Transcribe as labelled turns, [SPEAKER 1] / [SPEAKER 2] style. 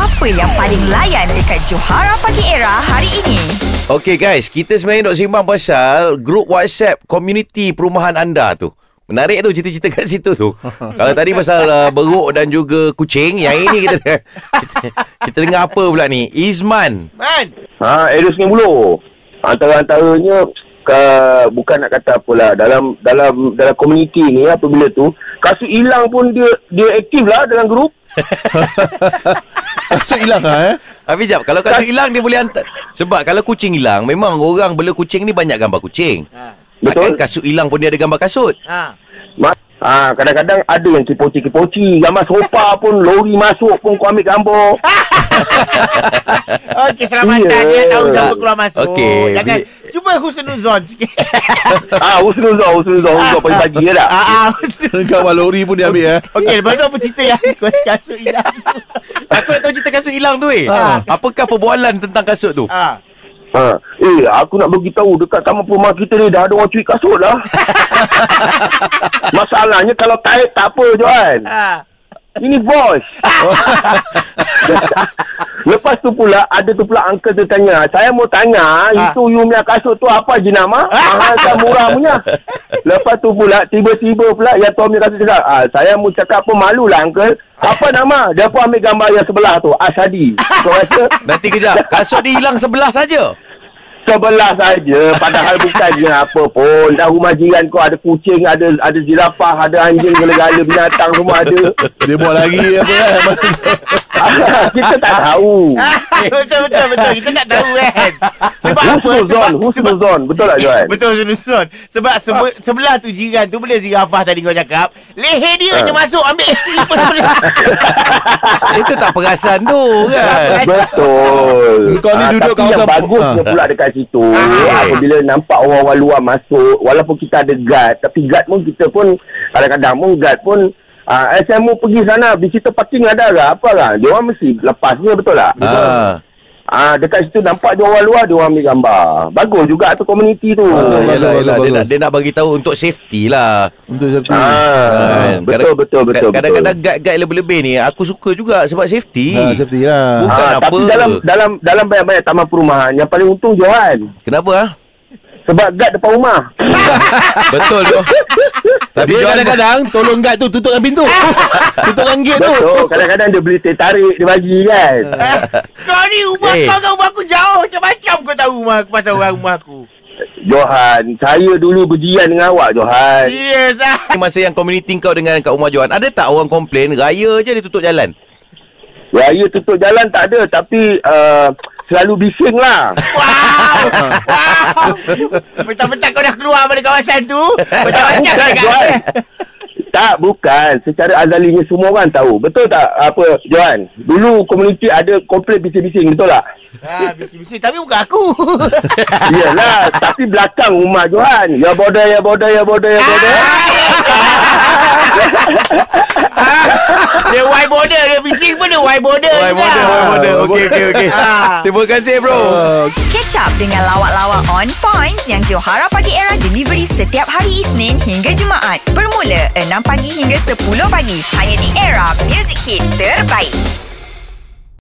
[SPEAKER 1] Apa yang paling layan dekat Johara Pagi Era hari ini?
[SPEAKER 2] Okay guys, kita sebenarnya nak sembang pasal grup WhatsApp komuniti perumahan anda tu. Menarik tu cerita-cerita kat situ tu. Kalau tadi pasal uh, beruk dan juga kucing, yang ini kita, kita kita dengar apa pula ni? Izman.
[SPEAKER 3] Ha, Aeros dengan Buloh. Antara-antaranya ka, bukan nak kata apalah dalam dalam dalam komuniti ni apabila tu kasus hilang pun dia dia aktif lah dalam grup.
[SPEAKER 4] Masuk hilang lah eh
[SPEAKER 2] Habis jap, kalau kasus hilang dia boleh hantar. Sebab kalau kucing hilang, memang orang bela kucing ni banyak gambar kucing. Akan
[SPEAKER 3] Betul.
[SPEAKER 2] kasut hilang pun dia ada gambar kasut.
[SPEAKER 3] Ma- ha, kadang-kadang ada yang kipoci-kipoci, gambar sofa pun lori masuk pun kau ambil gambar.
[SPEAKER 5] Okey, selamatan
[SPEAKER 3] Ya.
[SPEAKER 5] yeah. ya. Tahu siapa keluar masuk.
[SPEAKER 2] Okey,
[SPEAKER 5] Jangan.
[SPEAKER 2] bi-
[SPEAKER 5] Cuba husnuzon sikit.
[SPEAKER 3] Ah, ha, husnuzon, husnuzon, husnuzon pagi-pagi je dah.
[SPEAKER 5] ah, ah, husnuzon.
[SPEAKER 4] Gambar lori pun dia ambil eh
[SPEAKER 5] Okey, lepas tu apa cerita yang kau kasut hilang tu?
[SPEAKER 2] Aku nak tahu cerita kasut hilang tu eh.
[SPEAKER 4] Ah.
[SPEAKER 5] Ha.
[SPEAKER 2] Apakah perbualan tentang kasut tu?
[SPEAKER 5] Ah.
[SPEAKER 3] Ha. Eh, aku nak beritahu dekat taman perumahan kita ni dah ada orang curi kasut dah. Masalahnya kalau taib tak apa Johan.
[SPEAKER 5] Ah.
[SPEAKER 3] Ini bos. Lepas tu pula ada tu pula uncle tu tanya, "Saya mau tanya,
[SPEAKER 5] Ah.
[SPEAKER 3] itu you punya kasut tu apa je nama?" "Ah, saya murah punya." Lepas tu pula tiba-tiba pula yang tuan punya kasut cakap, "Ah, saya mau cakap pun malulah uncle. Apa nama?" Dia pun ambil gambar yang sebelah tu, Asadi. Kau rasa
[SPEAKER 2] Nanti kejap. Kasut dia hilang sebelah saja.
[SPEAKER 3] sebelah saja padahal bukannya apa pun. Dah rumah jiran kau ada kucing, ada ada zirafah, ada anjing segala-gala binatang semua ada. Ah,
[SPEAKER 4] Dia buat lagi apa eh
[SPEAKER 3] Kita tak tahu.
[SPEAKER 5] Ha, betul betul betul kita tak tahu kan. Sebab apa? Sebab
[SPEAKER 3] Eh. Husnuzon,
[SPEAKER 5] sebab
[SPEAKER 3] Husnuzon. Betul tak Johan?
[SPEAKER 5] Betul Husnuzon. Sebab sebe- sebelah tu jiran tu boleh zirafah tadi kau cakap. Leher dia
[SPEAKER 3] Ha.
[SPEAKER 5] je masuk ambil slipper sebelah.
[SPEAKER 2] Itu tak perasan tu kan.
[SPEAKER 3] Betul.
[SPEAKER 4] Kau ni
[SPEAKER 3] Ah,
[SPEAKER 4] duduk
[SPEAKER 3] tapi yang
[SPEAKER 4] kawasan-
[SPEAKER 3] bagusnya
[SPEAKER 4] Ah.
[SPEAKER 3] pula dekat situ. Eh,
[SPEAKER 5] Ah.
[SPEAKER 3] Apabila nampak orang-orang luar masuk, walaupun kita ada guard, tapi guard pun kita pun kadang-kadang pun guard pun Ah, eh, saya mau pergi sana Visitor parking ada lah Apa lah Dia orang mesti Lepasnya betul tak
[SPEAKER 2] Ah.
[SPEAKER 3] Ah, Dekat situ nampak dia orang luar Dia orang ambil gambar Bagus juga tu Komuniti tu
[SPEAKER 2] Ah, yelah,
[SPEAKER 4] Betul, betul,
[SPEAKER 2] yelah. Dia
[SPEAKER 4] bagus.
[SPEAKER 2] nak, dia nak bagi tahu untuk safety lah.
[SPEAKER 4] Untuk safety
[SPEAKER 3] Ah,
[SPEAKER 2] Kan?
[SPEAKER 3] Betul
[SPEAKER 2] Kadang-
[SPEAKER 3] betul
[SPEAKER 2] kad-
[SPEAKER 3] betul
[SPEAKER 2] Kadang-kadang
[SPEAKER 3] betul.
[SPEAKER 2] guide-guide lebih-lebih ni aku suka juga sebab safety.
[SPEAKER 4] ha, Safety lah
[SPEAKER 2] Bukan
[SPEAKER 3] Ah,
[SPEAKER 2] apa.
[SPEAKER 3] Tapi dalam dalam dalam banyak-banyak taman perumahan Yang paling untung Johan
[SPEAKER 2] Kenapa ah?
[SPEAKER 3] Sebab guard depan rumah
[SPEAKER 2] Betul tu. Tapi
[SPEAKER 4] Tapi dia
[SPEAKER 2] Johan-
[SPEAKER 4] kadang-kadang Tolong guard tu Tutup dengan pintu Tutup dengan gate tu
[SPEAKER 3] Betul Kadang-kadang dia beli teh tarik Dia bagi kan
[SPEAKER 2] Ah.
[SPEAKER 5] Ha. kau ni rumah
[SPEAKER 2] Eh.
[SPEAKER 5] kau dengan rumah aku jauh macam-macam kau tahu rumah aku pasal orang rumah aku.
[SPEAKER 3] Johan Saya dulu berjian dengan awak Johan
[SPEAKER 5] Serius ah.
[SPEAKER 2] Ni masa yang community kau dengan kat rumah Johan, ada tak orang komplain raya je dia tutup jalan?
[SPEAKER 3] Raya tutup jalan tak ada Tapi uh, Selalu bising lah
[SPEAKER 5] Wow Wow Mentang-mentang kau dah keluar dari kawasan tu Macam-macam
[SPEAKER 3] Bukan
[SPEAKER 5] kan.
[SPEAKER 3] Johan Tak bukan Secara azalinya semua orang tahu Betul tak Apa Johan Dulu komuniti ada komplain bising-bising Betul tak
[SPEAKER 5] ha, Bising-bising Tapi bukan aku
[SPEAKER 3] Yelah Tapi belakang rumah Johan Ya bodoh ya bodoh ya bodoh ya bodoh
[SPEAKER 5] Dia white border Dia bising pun dia white border
[SPEAKER 2] Why
[SPEAKER 5] juga.
[SPEAKER 2] model, why model. Okey, okey, okey.
[SPEAKER 5] Ah.
[SPEAKER 2] Terima kasih bro.
[SPEAKER 1] Catch up dengan lawak-lawak on points yang Johara Pagi Era delivery setiap hari Isnin hingga Jumaat. Bermula 6 pagi hingga 10 pagi. Hanya di Era Music Hit Terbaik.